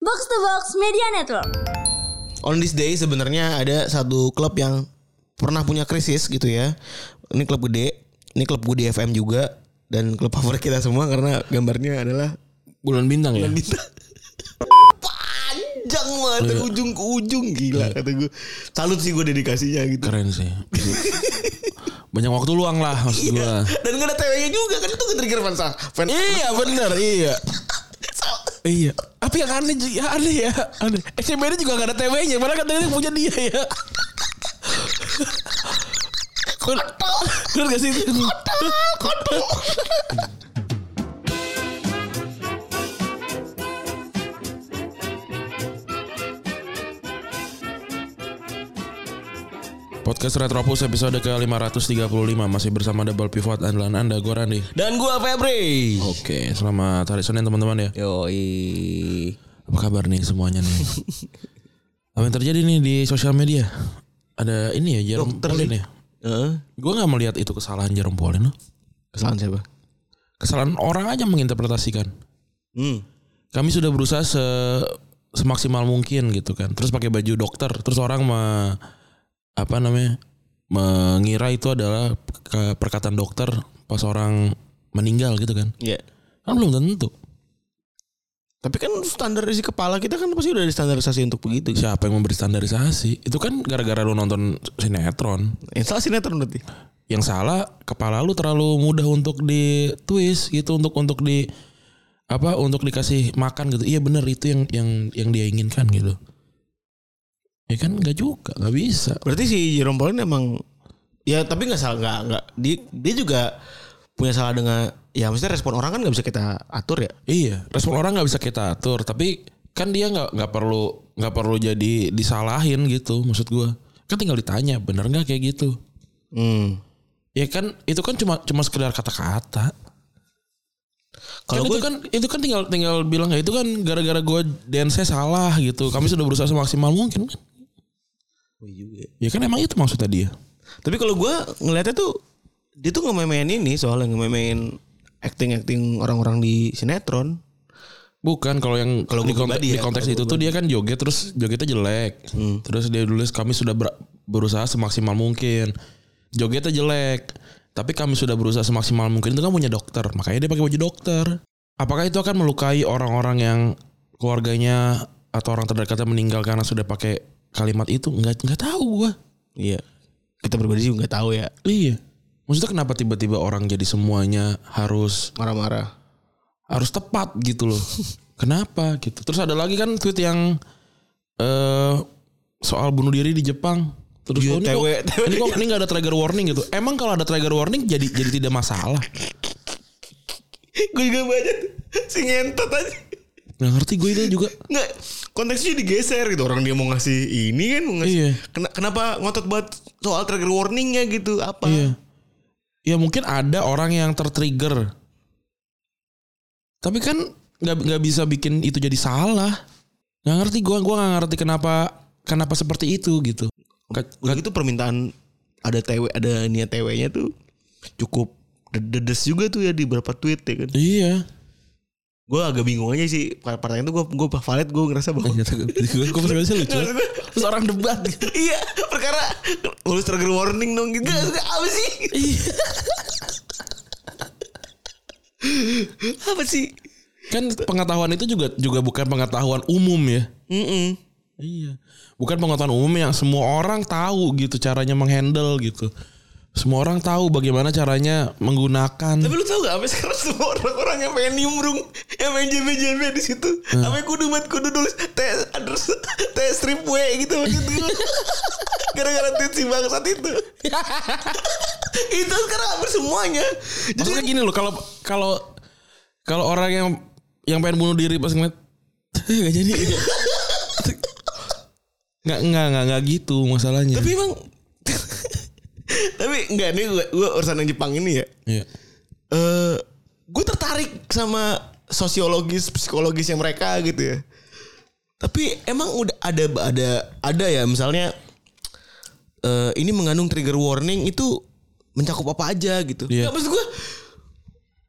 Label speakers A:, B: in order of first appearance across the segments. A: Box to Box Media Network.
B: On this day sebenarnya ada satu klub yang pernah punya krisis gitu ya. Ini klub gede, ini klub gue di FM juga dan klub favorit kita semua karena gambarnya adalah
C: Bulan bintang ya.
B: bintang. Panjang banget dari ujung ke ujung gila kata gue. Salut sih gue dedikasinya gitu.
C: Keren sih. Banyak waktu luang lah maksud gua.
B: Dan gak ada TW-nya juga kan itu ketrigger fans fan.
C: Iya bener iya. Iya. Tapi yang aneh juga ya aneh ya. Aneh. SCBD juga gak ada TW-nya. Padahal kan tadi punya dia ya. Bener gak sih? itu? Podcast Retropus episode ke-535 Masih bersama Double Pivot Andalan Anda, gue Randy
B: Dan gue Febri.
C: Oke, selamat hari Senin teman-teman ya
B: Yoi.
C: Apa kabar nih semuanya nih? Apa yang terjadi nih di sosial media? Ada ini ya, Jerome
B: Dokter
C: Pauline ya?
B: Heeh.
C: Gue gak melihat itu kesalahan Jerome Pauline loh.
B: Kesalahan siapa?
C: Kesalahan orang aja menginterpretasikan
B: Hmm.
C: kami sudah berusaha se- semaksimal mungkin gitu kan. Terus pakai baju dokter, terus orang me- apa namanya? mengira itu adalah ke- perkataan dokter pas orang meninggal gitu kan.
B: Iya.
C: Kan belum tentu.
B: Tapi kan standarisasi kepala kita kan pasti udah ada standarisasi untuk begitu.
C: Siapa yang memberi standarisasi? Itu kan gara-gara lu nonton sinetron.
B: Install sinetron berarti.
C: Yang salah kepala lu terlalu mudah untuk di twist gitu untuk untuk di apa untuk dikasih makan gitu. Iya bener itu yang yang yang dia inginkan gitu. Ya kan nggak juga, nggak bisa.
B: Berarti si Jerome Pauline emang ya tapi nggak salah nggak nggak dia dia juga punya salah dengan ya maksudnya respon orang kan nggak bisa kita atur ya.
C: Iya, respon orang nggak bisa kita atur, tapi kan dia nggak nggak perlu nggak perlu jadi disalahin gitu, maksud gua. Kan tinggal ditanya, bener nggak kayak gitu?
B: Hmm.
C: Ya kan itu kan cuma cuma sekedar kata-kata.
B: Kalau
C: Kalau
B: gue
C: itu kan itu kan tinggal tinggal bilang ya itu kan gara-gara gua dance salah gitu. Kami sudah berusaha semaksimal mungkin kan. Ya kan emang itu maksudnya dia.
B: Tapi kalau gue ngelihatnya tuh dia tuh ngememein ini soalnya ngememein acting-acting orang-orang di sinetron.
C: Bukan kalau yang
B: Kalau
C: di,
B: gua
C: kont-
B: pribadi Hmm. ya,
C: di konteks
B: kalau
C: itu tuh dia kan joget terus jogetnya jelek. Terus dia tulis kami sudah ber- berusaha semaksimal mungkin. Jogetnya jelek. Tapi kami sudah berusaha semaksimal mungkin itu kan punya dokter. Makanya dia pakai baju dokter. Apakah itu akan melukai orang-orang yang keluarganya atau orang terdekatnya meninggal karena sudah pakai kalimat itu? Nggak nggak tahu gua.
B: Iya. Kita berbeda juga nggak tahu ya
C: Iya. Maksudnya kenapa tiba-tiba orang jadi semuanya harus
B: marah-marah.
C: harus tepat gitu loh. Kenapa gitu? Terus ada lagi kan tweet yang eh soal bunuh diri di Jepang. Terus
B: Iya,
C: oh, ini kok-
B: TW.
C: ini kok ini gak ada trigger warning gitu. Emang kalau ada trigger warning jadi jadi tidak masalah.
B: gue juga baca tuh. si ngentot aja.
C: Nggak ngerti gue itu juga.
B: Nggak, konteksnya digeser gitu. Orang dia mau ngasih ini kan mau ngasih.
C: Iya.
B: Kena- kenapa ngotot banget soal trigger warningnya gitu apa?
C: Iya. Ya mungkin ada orang yang tertrigger. Tapi kan nggak nggak bisa bikin itu jadi salah. Nggak ngerti gue gue nggak ngerti kenapa kenapa seperti itu gitu. Ke-
B: Udah gitu permintaan ada TW ada niat TW-nya tuh cukup de- dedes juga tuh ya di beberapa tweet ya kan.
C: Iya.
B: Gue agak bingung aja sih part- part itu gue gue valid gue ngerasa bahwa
C: Iya. gue gue sih lucu. Terus orang debat gitu.
B: iya perkara tulis trigger warning dong gitu
C: Iya.
B: Gak, apa sih apa sih
C: kan pengetahuan itu juga juga bukan pengetahuan umum ya.
B: Mm-mm.
C: Iya. Bukan pengetahuan umum yang semua orang tahu gitu caranya menghandle gitu. Semua orang tahu bagaimana caranya
B: tapi
C: menggunakan.
B: lu tau gak apa sekarang semua orang-orang yang pengen nimbrung yang pengen jb jb di situ apa kudu buat kudu nulis t address t strip w gitu maksud gue. gara-gara tweet si bangsat itu itu sekarang hampir semuanya jadi
C: Maksudnya gini loh kalau kalau kalau orang yang yang pengen bunuh diri pas ngeliat gak jadi nggak nggak nggak nggak gitu masalahnya.
B: tapi emang tapi enggak nih gue, gue urusan yang Jepang ini ya
C: Iya.
B: eh gue tertarik sama sosiologis psikologisnya mereka gitu ya tapi emang udah ada ada ada ya misalnya eh ini mengandung trigger warning itu mencakup apa aja gitu
C: Iya.
B: Nggak, maksud gue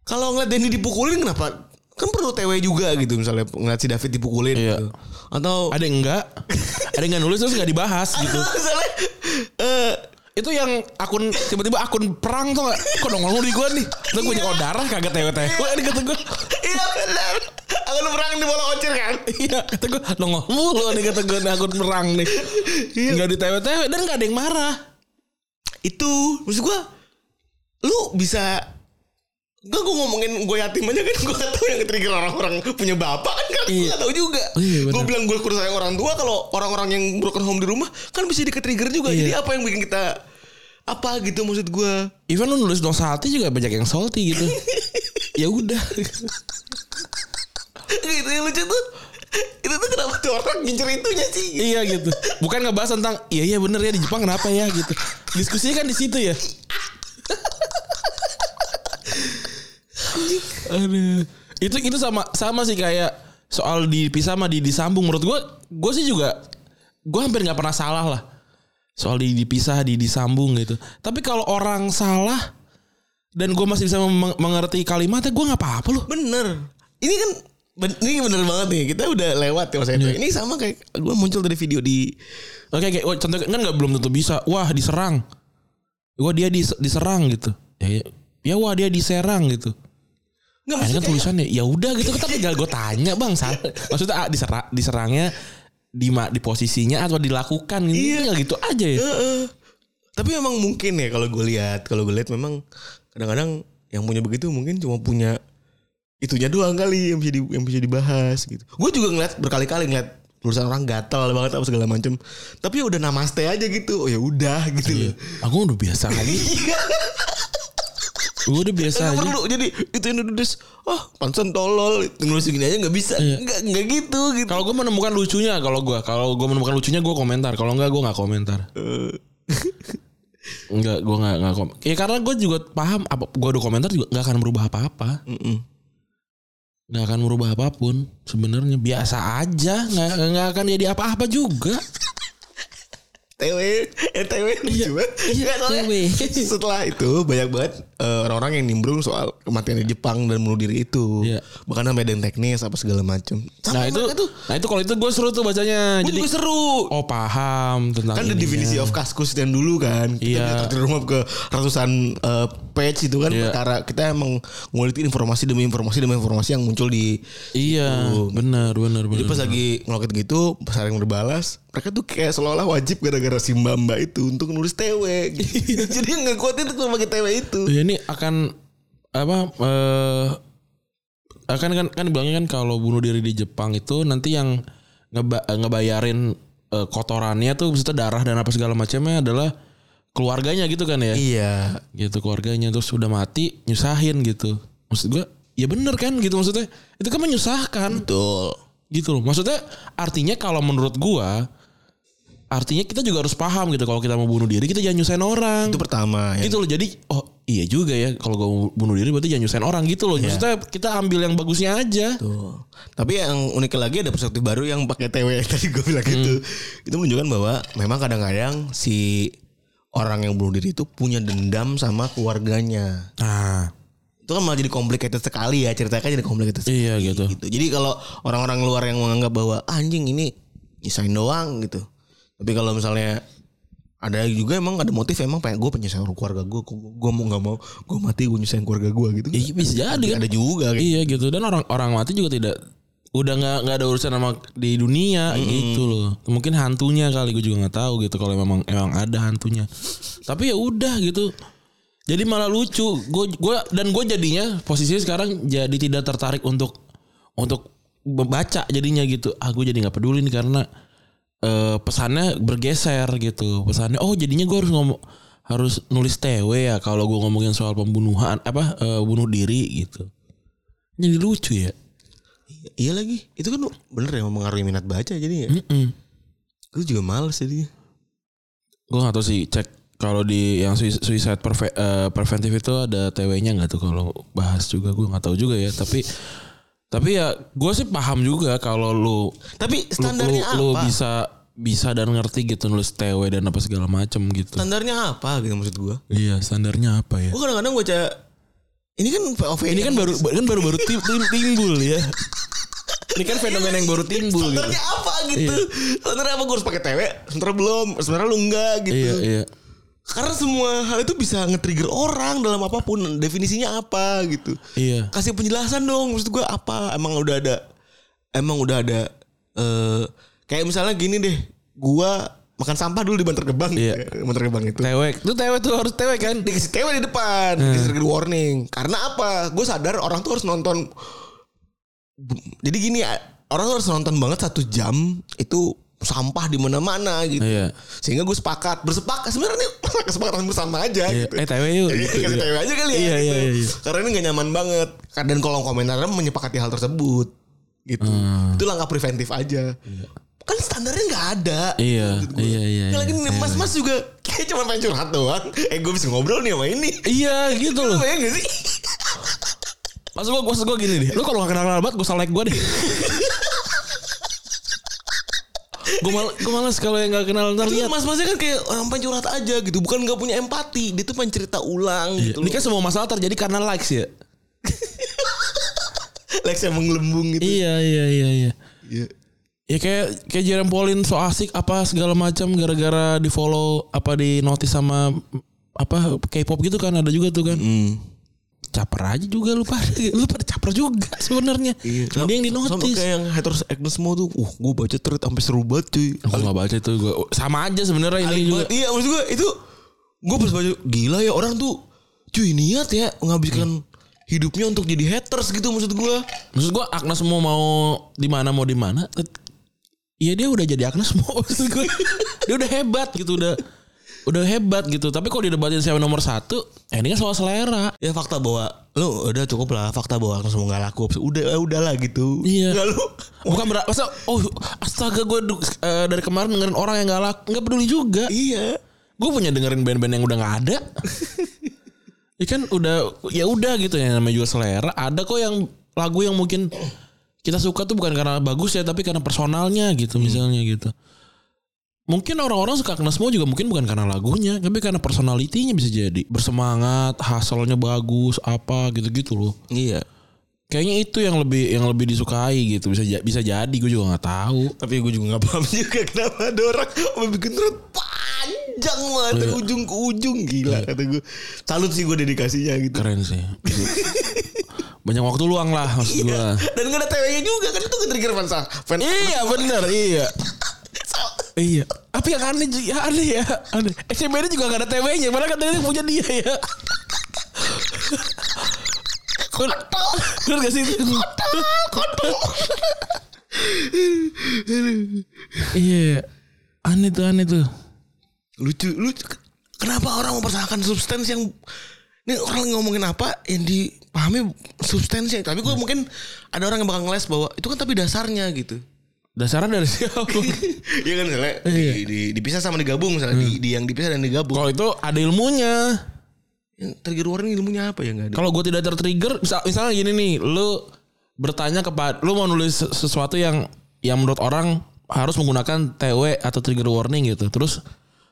B: kalau ngeliat Denny dipukulin kenapa kan perlu TW juga gitu misalnya ngeliat si David dipukulin
C: Iya.
B: gitu. Atau
C: Ada yang enggak? ada yang enggak nulis terus enggak dibahas gitu.
B: misalnya eh,
C: Itu yang akun tiba-tiba akun perang tuh enggak kok nongol di gua nih. Terus gua nyekodarah darah kagak tewe-tewe ini kata gua.
B: iya benar. Akan perang di bola ocir kan.
C: Iya, kata gua nongol mulu nih kata gua nih akun perang nih. Enggak ditewe-tewe dan enggak ada yang marah.
B: Itu maksud gua lu bisa Gak gue ngomongin gue yatim aja kan Gue gak tau yang trigger orang-orang punya bapak kan kan Gue
C: Iya.
B: gak tau juga
C: Iya, benar.
B: Gue bilang gue kurang sayang orang tua Kalau orang-orang yang broken home di rumah Kan bisa diketrigger juga
C: Iya.
B: Jadi apa yang bikin kita Apa gitu maksud gue
C: Even lu nulis dosa hati juga banyak yang salty gitu. ya udah.
B: gitu yang lucu tuh itu tuh kenapa tuh orang ngincer itunya sih
C: Iya gitu. Bukan ngebahas tentang iya iya bener ya di Jepang kenapa ya gitu. Diskusinya kan di situ ya. Aduh. Itu itu sama sama sih kayak soal dipisah sama di disambung menurut gua gua sih juga gua hampir nggak pernah salah lah. Soal di dipisah di disambung gitu. Tapi kalau orang salah dan gua masih bisa mem- mengerti kalimatnya gua nggak apa-apa loh.
B: bener ini kan ben- ini bener banget nih kita udah lewat ya mas Edo
C: Iya.
B: ini sama kayak gue muncul dari video di
C: Oke, oke. Wah, contoh kan nggak belum tentu bisa. Wah, diserang. Wah, dia dis- diserang gitu. Ya, ya. Ya, wah dia diserang gitu.
B: nggak
C: Nah, ini
B: maksudnya
C: kan tulisannya ya udah gitu. Kita tinggal gue tanya bang. Sal. Maksudnya ah, disera- diserangnya di ma- di posisinya atau dilakukan gitu.
B: Iya.
C: Tinggal gitu aja ya.
B: kayak, eh, eh. tapi emang mungkin ya kalau gue lihat kalau gue lihat memang kadang-kadang yang punya begitu mungkin cuma punya itunya doang kali yang bisa di- yang bisa dibahas gitu gue juga ngeliat berkali-kali ngeliat tulisan orang gatal banget apa segala macem tapi ya udah namaste aja gitu oh ya udah gitu loh Iya,
C: Aku Ah, udah biasa aja. Gue udah biasa
B: Nggak
C: aja.
B: perlu jadi itu yang nulis oh pantesan tolol nulis gini aja nggak bisa nggak nggak gitu gitu
C: Kalau gue menemukan lucunya, kalau gue kalau gue menemukan lucunya gue komentar. Kalau enggak gue nggak komentar. Enggak, gue nggak nggak kom. Ya karena gue juga paham apa gue udah komentar juga nggak akan berubah apa-apa.
B: Mm-mm.
C: nggak akan merubah apapun sebenarnya biasa aja nggak nggak akan jadi apa-apa juga
B: TW eh TW lucu banget
C: iya,
B: Nggak, soalnya
C: TW.
B: setelah itu banyak banget eh, orang-orang yang nimbrung soal kematian di Jepang dan bunuh diri itu
C: Iya.
B: bahkan sampai ada yang teknis apa segala macam
C: nah itu nah itu kalau itu gue seru tuh bacanya
B: jadi
C: jadi
B: seru
C: oh paham tentang
B: kan ada
C: ininya.
B: definisi of kaskus dan dulu kan kita bisa
C: Iya.
B: terjun rumah ke ratusan eh, page itu kan
C: Iya.
B: perkara kita emang ngulitin informasi demi informasi demi informasi yang muncul di
C: iya benar benar benar
B: gitu. Jadi pas lagi ngeloket gitu, pas ada yang berbalas, mereka tuh kayak seolah-olah wajib gara-gara si mbak mbak itu untuk nulis TW. gitu. Jadi yang ngekuatin tuh cuma pakai TW itu.
C: ya, ini akan apa eh akan kan kan bilangnya kan kalau bunuh diri di Jepang itu nanti yang ngeba- ngebayarin eh, kotorannya tuh maksudnya darah dan apa segala macamnya adalah keluarganya gitu kan ya
B: Iya.
C: gitu keluarganya terus udah mati nyusahin gitu maksud gua ya bener kan gitu maksudnya itu kan menyusahkan
B: Betul.
C: gitu loh maksudnya artinya kalau menurut gua artinya kita juga harus paham gitu kalau kita mau bunuh diri kita jangan nyusahin orang
B: Itu pertama. ya.
C: gitu loh jadi oh iya juga ya kalau gua mau bunuh diri berarti jangan nyusahin orang gitu loh
B: Iya.
C: maksudnya kita ambil yang bagusnya aja
B: Tuh. Tapi yang unik lagi ada perspektif baru yang pakai TW tadi gue bilang gitu.
C: Hmm.
B: Itu menunjukkan bahwa memang kadang-kadang si orang yang bunuh diri itu punya dendam sama keluarganya.
C: nah
B: Itu kan malah jadi complicated sekali ya ceritanya kan jadi complicated sekali.
C: iya gitu
B: gitu. Jadi kalau orang-orang luar yang menganggap bahwa "Ah, anjing ini nyisain doang gitu. Tapi kalau misalnya ada juga emang ada motif emang pengen gue penyesain keluarga gue, gue mau nggak mau gue mati gue nyusahin keluarga gue gitu.
C: Iya, bisa jadi kan
B: Ada juga kayak
C: iya gitu dan orang orang mati juga tidak udah nggak nggak ada urusan sama di dunia gitu loh mungkin hantunya kali gue juga nggak tahu gitu kalau memang emang ada hantunya tapi ya udah gitu jadi malah lucu gue gua dan gue jadinya posisinya sekarang jadi tidak tertarik untuk untuk membaca jadinya gitu ah gue jadi nggak peduli nih karena eh, pesannya bergeser gitu pesannya oh jadinya gue harus ngomong harus nulis TW ya kalau gue ngomongin soal pembunuhan apa eh, bunuh diri gitu jadi lucu ya.
B: Iya lagi. Itu kan bener ya mempengaruhi minat baca jadi ya. Gue juga males jadi.
C: Gue gak tau sih cek kalau di yang sui- suicide perve- eh, preventif itu ada TW-nya nggak tuh kalau bahas juga gue nggak tahu juga ya. Tapi tapi ya gue sih paham juga kalau lu
B: Tapi
C: lu, lu,
B: standarnya
C: lu
B: apa?
C: bisa bisa dan ngerti gitu nulis TW dan apa segala macem gitu.
B: Standarnya apa gitu maksud gue?
C: Iya standarnya apa ya?
B: Gue kadang-kadang baca Ini kan POV.
C: Ini kan baru kan baru baru tim, tim- timbul ya. Ini kan fenomena yang baru timbul gitu.
B: Sebenarnya Iya, apa gitu? Sebenarnya apa gue harus pakai TW? Sebenarnya belum. Sebenarnya lu enggak gitu.
C: Iya iya.
B: Karena semua hal itu bisa nge-trigger orang dalam apapun. Definisinya apa gitu.
C: Iya.
B: Kasih penjelasan dong. Maksud gue apa? Emang udah ada. Emang udah ada. eh kayak misalnya gini deh. gua makan sampah dulu di Bantar Gebang.
C: Iya.
B: gitu. Bantar Gebang itu.
C: Tewek. Itu tewek tuh harus tewek kan?
B: dikasih TW di depan,
C: Hmm.
B: dikasih trigger warning. Karena apa? Gue sadar orang tuh harus nonton. Jadi gini, orang tuh harus nonton banget satu jam itu sampah di mana-mana gitu.
C: Iya.
B: Sehingga gue sepakat, bersepakat sebenarnya ini kesepakatan bersama aja gitu.
C: Iya. Eh tewek yuk.
B: Iya,
C: gitu.
B: kasih TW aja kali ya.
C: Iya,
B: gitu.
C: iya, iya, iya.
B: Karena ini gak nyaman banget. Dan kolom komentarnya menyepakati hal tersebut. Gitu.
C: Hmm.
B: Itu langkah preventif aja. Kan standarnya nggak ada.
C: Iya,
B: Menurut gua.
C: iya, iya,
B: Nggak lagi
C: iya,
B: nih, mas-mas juga kayak cuma pengen curhat doang. Eh gue bisa ngobrol nih sama ini.
C: Iya gitu
B: Lu
C: loh.
B: bayang gak sih?
C: Maksud gua, maksud gua gini deh. Lu kalau gak kenal kenal banget gua like gua deh. gua mal, gua malas kalau yang gak kenal ntar
B: Itu
C: lihat.
B: mas-masnya kan kayak orang pengen curhat aja gitu. Bukan nggak punya empati. Dia tuh pengen cerita ulang
C: Iya.
B: gitu.
C: Ini kan semua masalah terjadi karena likes ya.
B: Lex yang menggelembung gitu.
C: Iya iya iya iya.
B: Iya.
C: Ya kayak kayak Jerem Pauline so asik apa segala macam gara-gara di follow apa di notice sama apa K-pop gitu kan ada juga tuh kan. Caper aja juga lu pada lu pada caper juga sebenarnya. Cuma dia yang di
B: Iya. Sama
C: notice.
B: kayak yang haters Agnes Mo tuh. Uh gue baca tweet sampai seru banget cuy.
C: Aku nggak baca itu gua sama aja sebenarnya ini juga.
B: Buat- iya maksud gue itu gue pas baca gila ya orang tuh cuy niat ya menghabiskan hidupnya untuk jadi haters gitu maksud gue.
C: Maksud gua Agnes mau mau di mana mau di mana. tet- Iya dia udah jadi Agnes mau maksud gua. dia udah hebat gitu udah udah hebat gitu. Tapi kalau didebatin siapa nomor satu, eh ini kan soal selera.
B: Ya fakta bahwa lu udah cukup lah fakta bahwa langsung nggak laku udah eh, udahlah gitu.
C: Iya.
B: Nggak, lu
C: Bukan berapa masa oh astaga gue dari kemarin dengerin orang yang galak nggak peduli juga.
B: iya.
C: Gue punya dengerin band-band yang udah nggak ada. ya kan udah ya udah gitu ya namanya juga selera. Ada kok yang lagu yang mungkin kita suka tuh bukan karena bagus ya tapi karena personalnya gitu misalnya gitu. Mungkin orang-orang suka kena semua juga mungkin bukan karena lagunya, tapi karena personalitinya bisa jadi. Bersemangat, hasilnya bagus, apa gitu-gitu loh.
B: Iya.
C: Kayaknya itu yang lebih yang lebih disukai gitu bisa ja- bisa jadi gue juga nggak tahu.
B: Tapi gue juga nggak paham juga kenapa ada orang mau bikin tweet panjang banget dari ujung ke ujung gila kata gue. Salut sih gue dedikasinya gitu.
C: Keren sih. Banyak waktu luang lah maksud gue.
B: Dan gak ada TW-nya juga kan itu nge-trigger fans. Fans
C: Iya bener iya. Iya. Tapi yang aneh juga aneh ya. Aneh. SCBD juga gak ada TW-nya. Padahal kan TW punya dia ya. Bener gak sih itu? Iya. Aneh tuh aneh tuh.
B: lucu lucu kenapa orang mempersalahkan substansi yang ini orang ngomongin apa yang dipahami substansi tapi gue mungkin ada orang yang bakal ngeles bahwa itu kan tapi dasarnya gitu
C: Dasarnya dari siapa?
B: Iya kan misalnya di, di- dipisah sama digabung misalnya di, di yang dipisah dan digabung
C: Kalau itu ada ilmunya.
B: yang trigger warning ilmunya apa ya nggak ada
C: Kalau gue tidak tertrigger, misal, misalnya gini nih, lu bertanya kepada, lu mau nulis se- sesuatu yang yang menurut orang harus menggunakan TW atau trigger warning gitu. Terus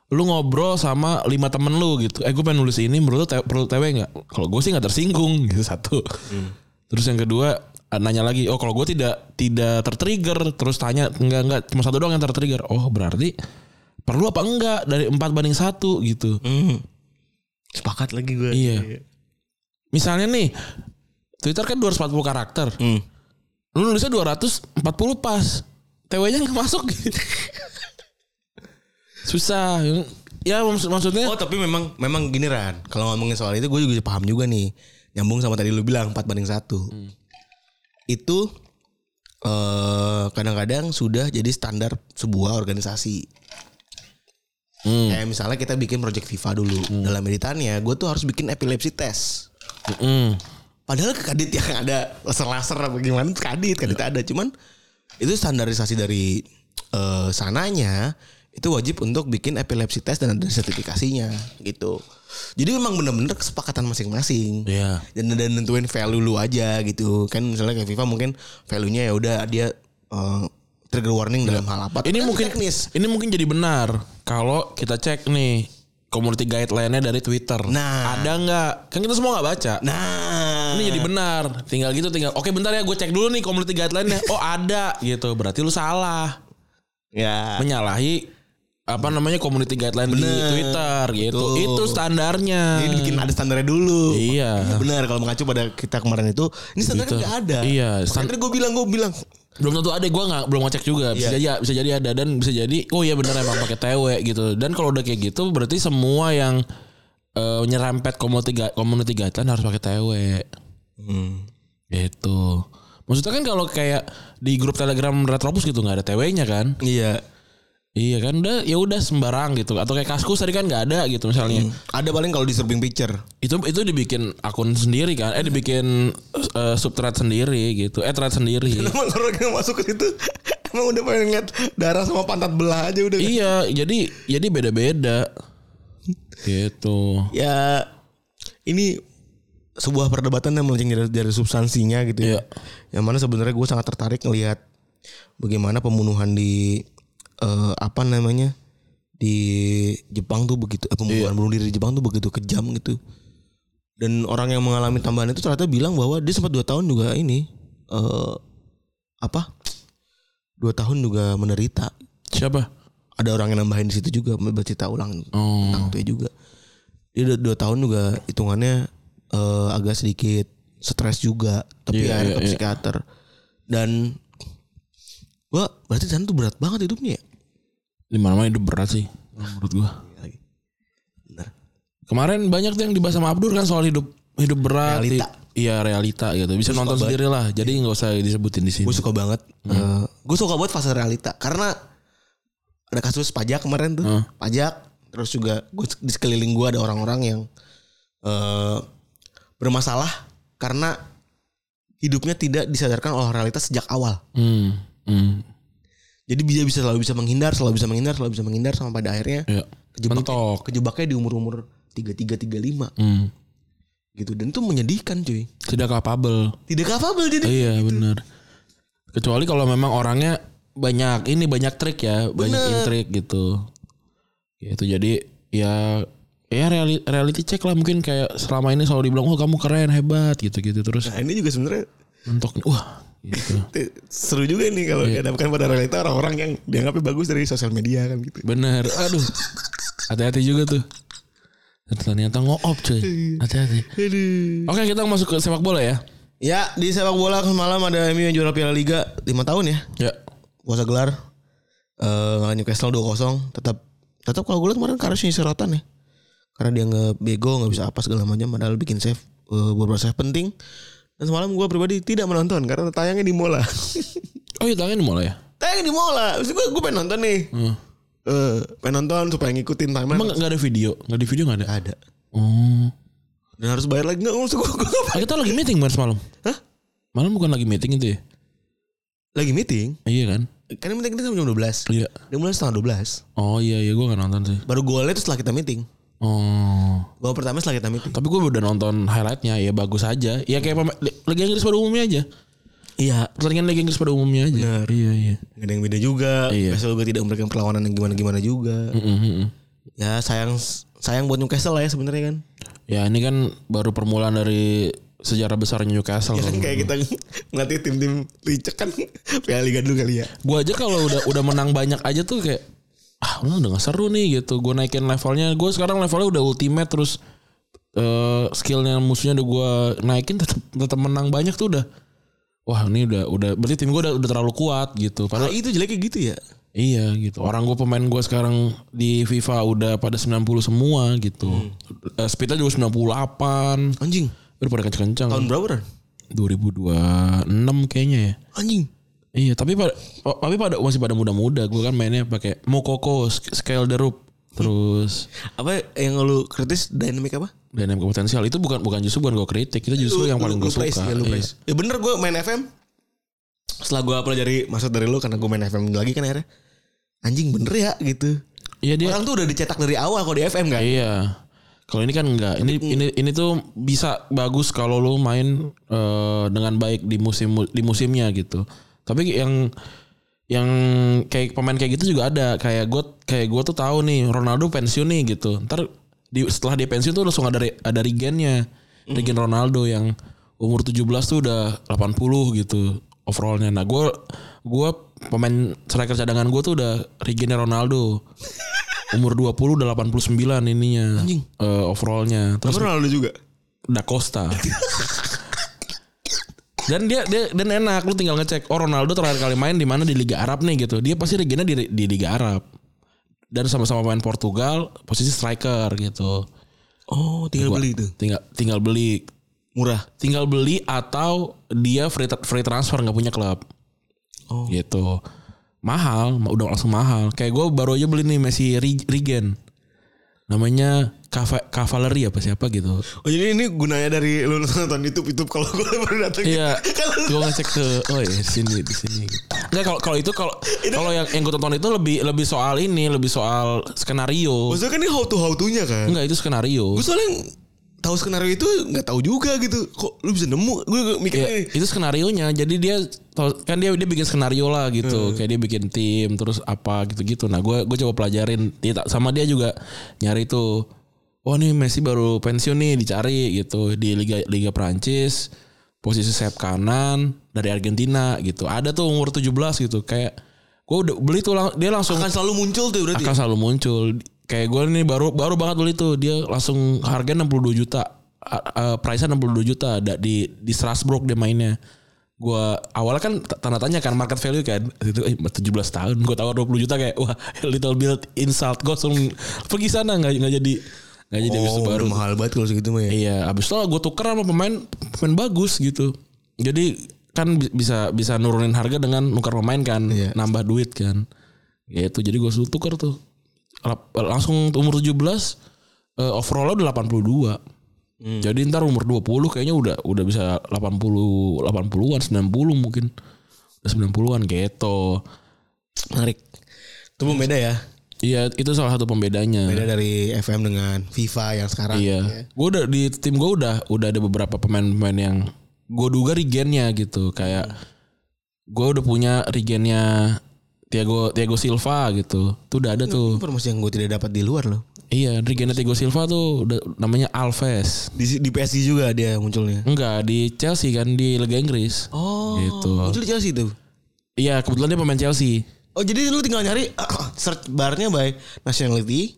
C: lu ngobrol sama lima temen lu gitu. Eh gue pengen nulis ini, menurut lu te- perlu TW nggak? Kalau gue sih nggak tersinggung gitu satu. Terus yang kedua ah, nanya lagi, oh kalau gue tidak tidak tertrigger, terus tanya enggak enggak cuma satu doang yang tertrigger. Oh berarti perlu apa enggak dari empat banding satu gitu.
B: Hmm. sepakat lagi gue
C: Iya. Misalnya nih Twitter kan 240 karakter.
B: Hmm.
C: Lu nulisnya 240 pas. TW-nya nggak masuk. Susah. Ya maksud- maksudnya
B: oh tapi memang memang gini Ran kalau ngomongin soal itu gue juga paham juga nih nyambung sama tadi lu bilang 4 banding satu
C: Hmm.
B: itu eh, kadang-kadang sudah jadi standar sebuah organisasi
C: Hmm.
B: Kayak misalnya kita bikin project FIFA dulu. Dalam editannya gue tuh harus bikin epilepsi test.
C: Mm.
B: Padahal ke kadit yang ada laser-laser apa gimana tuh kadit, kadit
C: Iya.
B: ada. Cuman itu standarisasi dari eh, sananya itu wajib untuk bikin epilepsi test dan ada sertifikasinya gitu. Jadi memang bener-bener kesepakatan masing-masing.
C: Iya.
B: Dan dan nentuin value lu aja gitu. Kan misalnya kayak FIFA mungkin value-nya ya udah dia eh, trigger warning dalam hal apa.
C: Iya. Ini
B: Kan
C: mungkin
B: teknis.
C: ini mungkin jadi benar kalau kita cek nih community guideline-nya dari Twitter.
B: Nah.
C: ada nggak? Kan kita semua nggak baca.
B: Nah,
C: Ini jadi benar. Tinggal gitu, tinggal. Oke, bentar ya, gue cek dulu nih community guideline-nya. Oh ada, gitu. Berarti lu salah
B: ya.
C: menyalahi apa namanya community guideline di
B: Bener.
C: Twitter gitu.
B: Betul.
C: Itu standarnya.
B: Jadi bikin ada standarnya dulu.
C: Iya.
B: Benar kalau mengacu pada kita kemarin itu, ini standarnya
C: Gitu.
B: nggak ada.
C: Iya, stand-
B: Standar gue bilang gue bilang
C: belum tentu ada gue nggak belum ngecek juga bisa jadi
B: Iya.
C: bisa jadi ada dan bisa jadi oh iya bener emang pakai TW gitu dan kalau udah kayak gitu berarti semua yang eh, nyerempet community gu- community guideline harus pakai TW
B: Hmm.
C: gitu maksudnya kan kalau kayak di grup Telegram Retropus gitu nggak ada TW-nya kan
B: Iya.
C: iya kan udah ya udah sembarang gitu atau kayak Kaskus tadi kan nggak ada gitu misalnya
B: Ada paling kalau disturbing picture.
C: itu itu dibikin akun sendiri kan eh dibikin eh, subthread sendiri gitu eh thread sendiri
B: Emang orang yang masuk ke situ emang udah pengen ngeliat darah sama pantat belah aja udah.
C: iya jadi jadi beda beda gitu
B: ya ini sebuah perdebatan yang melenceng dari, dari substansinya gitu ya.
C: Iya.
B: Yang mana sebenarnya gue sangat tertarik ngelihat bagaimana pembunuhan di eh, apa namanya di Jepang tuh begitu eh, pembunuhan bunuh diri di Jepang tuh begitu kejam gitu. Dan orang yang mengalami tambahan itu ternyata bilang bahwa dia sempat dua tahun juga ini eh apa dua tahun juga menderita
C: siapa
B: ada orang yang nambahin di situ juga bercerita ulang
C: Oh.
B: tentang itu juga dia udah dua tahun juga hitungannya eh, agak sedikit stres juga tapi
C: Iya,
B: akhirnya
C: iya,
B: ke
C: iya.
B: psikiater dan gua berarti sana tuh berat banget hidupnya ya
C: di mana mana hidup berat sih menurut gua
B: Bener.
C: kemarin banyak tuh yang dibahas sama Abdur kan soal hidup hidup berat
B: Realita.
C: Hi- iya realita gitu bisa
B: Gua suka
C: nonton
B: banget.
C: sendiri lah jadi nggak usah disebutin di sini
B: gue suka banget gue suka buat fase realita karena ada kasus pajak kemarin tuh
C: Hmm.
B: pajak terus juga gue di sekeliling gue ada orang-orang yang eh, bermasalah karena hidupnya tidak disadarkan oleh realitas sejak awal
C: hmm. Hmm.
B: jadi dia bisa selalu bisa menghindar selalu bisa menghindar selalu bisa menghindar sama pada akhirnya
C: Iya. mentok
B: kejebaknya di umur umur tiga tiga tiga lima
C: hmm.
B: gitu dan itu menyedihkan cuy
C: tidak capable
B: tidak capable jadi
C: Iya benar. Kecuali kalau memang orangnya banyak ini banyak trik ya, banyak
B: Bener.
C: intrik gitu. Gitu jadi ya ya reali- reality check lah mungkin kayak selama ini selalu dibilang oh kamu keren hebat gitu-gitu terus
B: nah ini juga sebenarnya
C: mentok wah gitu.
B: Te- seru juga nih kalau
C: Iya.
B: dihadapkan pada realita orang-orang yang dianggapnya bagus dari sosial media kan gitu.
C: Bener. Aduh. Hati-hati juga tuh. Ternyata ngoop cuy. Hati-hati.
B: Aduh.
C: Oke, kita masuk ke sepak bola ya.
B: Ya di sepak bola semalam ada MU yang juara Piala Liga 5 tahun ya
C: Ya.
B: puasa gelar Eh ngalahin Newcastle 2-0 tetap tetap kalau gue lihat kemarin Karasnya serotan ya karena dia nggak bego nggak bisa apa segala macam padahal bikin save eh, beberapa save penting dan semalam gue pribadi tidak menonton karena tayangnya di mola
C: Oh, iya tangan mulai ya.
B: tayangnya di mola maksud gue gue pengen nonton nih
C: Hmm.
B: Eh, pengen nonton supaya ngikutin timeline
C: Emang enggak ada video? Enggak di video enggak ada.
B: Nggak ada
C: Oh.
B: dan harus bayar lagi nggak maksud gue gue
C: Ah, kita lagi meeting kemarin semalam.
B: Hah?
C: Malam bukan lagi meeting itu ya?
B: lagi meeting
C: Iya kan?
B: Karena meeting kita sampai jam 12
C: Iya.
B: Dia mulai setengah 12
C: Oh iya iya gue gak nonton sih.
B: Baru golnya itu setelah kita meeting
C: Oh.
B: Gol pertama setelah kita meeting
C: Tapi gue udah nonton highlightnya ya bagus aja. Ya kayak pema- Liga Inggris pada umumnya aja.
B: Iya
C: Pertandingan Liga Inggris pada umumnya aja.
B: Benar.
C: Iya iya.
B: Gak ada yang beda juga
C: Iya.
B: Besok juga tidak memberikan perlawanan yang gimana-gimana juga
C: Mm, mm, mm.
B: Ya sayang sayang buat Newcastle lah ya sebenarnya kan
C: Ya ini kan baru permulaan dari sejarah besar Newcastle.
B: Ya kan kayak kita ngelatih tim-tim licek kan Piala Liga dulu kali ya
C: Gue aja kalau udah udah menang banyak aja tuh kayak ah ini udah gak seru nih gitu. Gue naikin levelnya. Gue sekarang levelnya udah ultimate terus eh skillnya musuhnya udah gue naikin tetap tetap menang banyak tuh udah. Wah ini udah udah berarti tim gue udah, udah terlalu kuat gitu.
B: Nah
C: Padahal
B: itu jeleknya gitu ya
C: Iya gitu. Orang gue pemain gue sekarang di FIFA udah pada 90 semua gitu.
B: Hmm.
C: Eh, speednya juga 98.
B: Anjing
C: Udah pada kenceng-kenceng.
B: Tahun berapa Ran?
C: 2026 kayaknya ya.
B: Anjing
C: Iya, tapi pada pa- tapi pada masih pada muda-muda. Gue kan mainnya pakai Mokoko, Sk- Scale the Roop, terus
B: Apa yang lu kritis dynamic apa?
C: dan yang potensial itu bukan bukan justru bukan gue kritik, itu justru yang paling
B: lu
C: gue suka.
B: praise, Ya, lu
C: Iya.
B: praise. Ya bener gue main FM. Setelah gue pelajari maksud dari lu karena gue main FM lagi kan akhirnya. Anjing bener ya gitu.
C: Iya dia.
B: Orang tuh udah dicetak dari awal kalau di FM kan.
C: Iya. Kalau ini kan enggak. Ini ini ini tuh bisa bagus kalau lu main eh, dengan baik di musim di musimnya gitu. Tapi yang yang kayak pemain kayak gitu juga ada. Kayak gue kayak gua tuh tahu nih Ronaldo pensiun nih gitu. Ntar di setelah dia pensiun tuh langsung ada re- ada regennya. Regen Ronaldo yang umur 17 tuh udah 80 gitu overallnya. Nah, gue gua pemain striker cadangan gue tuh udah regennya Ronaldo. Umur 20 udah 89 ininya
D: Anjing.
C: eh, overallnya. Terus
B: Tapi Ronaldo juga.
C: Da Costa. dan dia, dia dan enak lu tinggal ngecek oh Ronaldo terakhir kali main di mana di Liga Arab nih gitu. Dia pasti regennya di, di Liga Arab. Dan sama-sama main Portugal, posisi striker gitu.
B: Oh, tinggal beli itu.
C: Tinggal tinggal beli
B: Murah.
C: tinggal beli atau dia free tra- free transfer nggak punya klub.
B: Oh.
C: Gitu. Mahal, ma- udah langsung mahal. Kayak gue baru aja beli nih Messi Ri- Regen. Namanya Cava- Cavalry apa siapa gitu.
B: Oh, jadi ini gunanya dari lu nonton YouTube YouTube kalau gue baru datang.
C: Iya.
B: Kalau-
C: gue ngecek ke oh iya di sini di sini. Enggak kalau kalau itu kalau kalau yang yang gue tonton itu lebih lebih soal ini, lebih soal skenario.
B: Maksudnya kan ini how to how to-nya kan.
C: Enggak itu skenario.
B: Gue soalnya tahu skenario itu nggak tahu juga gitu. Kok lu bisa nemu? Gue mikir
C: Ya, itu skenarionya. Jadi dia kan dia dia bikin skenario lah gitu. Kayak dia bikin tim terus apa gitu-gitu. Nah, gue gue coba pelajarin Dia tak- sama dia juga nyari tuh. Wah, nih Messi baru pensiun nih dicari gitu di Liga Liga Prancis. Posisi sayap kanan dari Argentina gitu. Ada tuh umur 17 gitu. Kayak gue udah beli tuh lang- dia langsung
B: akan selalu muncul tuh berarti.
C: akan selalu muncul. Kayak gue nih baru baru banget beli tuh dia langsung harga 62 juta. Uh, price-nya 62 juta da- di di Strasbourg dia mainnya. Gua awalnya kan t- tanda tanya kan market value kan itu eh, 17 tahun gue tawar 20 juta kayak wah little bit insult gue langsung pergi sana nggak nggak jadi nggak jadi habis itu
B: Oh, baru
C: baru
B: mahal banget kalau segitu mah ya.
C: Iya, abis itu gue tuker sama pemain pemain bagus gitu. Jadi kan bi- bisa bisa nurunin harga dengan nuker pemain kan,
B: Iya.
C: nambah duit kan. Gitu. Jadi gue suruh tuker tuh. Lap- Langsung umur 17 eh, overall udah 82. Jadi ntar umur 20 kayaknya udah udah bisa 80 80-an 90 mungkin. Udah 90-an gitu.
B: Menarik. Itu pun beda ya.
C: Iya, itu salah satu pembedanya.
B: Beda dari FM dengan FIFA yang sekarang.
C: Iya. Gue udah di tim gue udah udah ada beberapa pemain-pemain yang gue duga regennya gitu kayak gue udah punya regennya Tiago Tiago Silva gitu. Tuh udah ada tuh.
B: Informasi yang gue tidak dapat di luar loh.
C: Iya, regennya Tiago Silva tuh udah, namanya Alves.
B: Di, di PSG juga dia munculnya.
C: Enggak di Chelsea kan di Liga Inggris.
B: Oh,
C: Gitu.
B: muncul di Chelsea tuh.
C: Iya, kebetulan dia pemain Chelsea.
B: Oh, jadi lu tinggal nyari search barnya by nationality,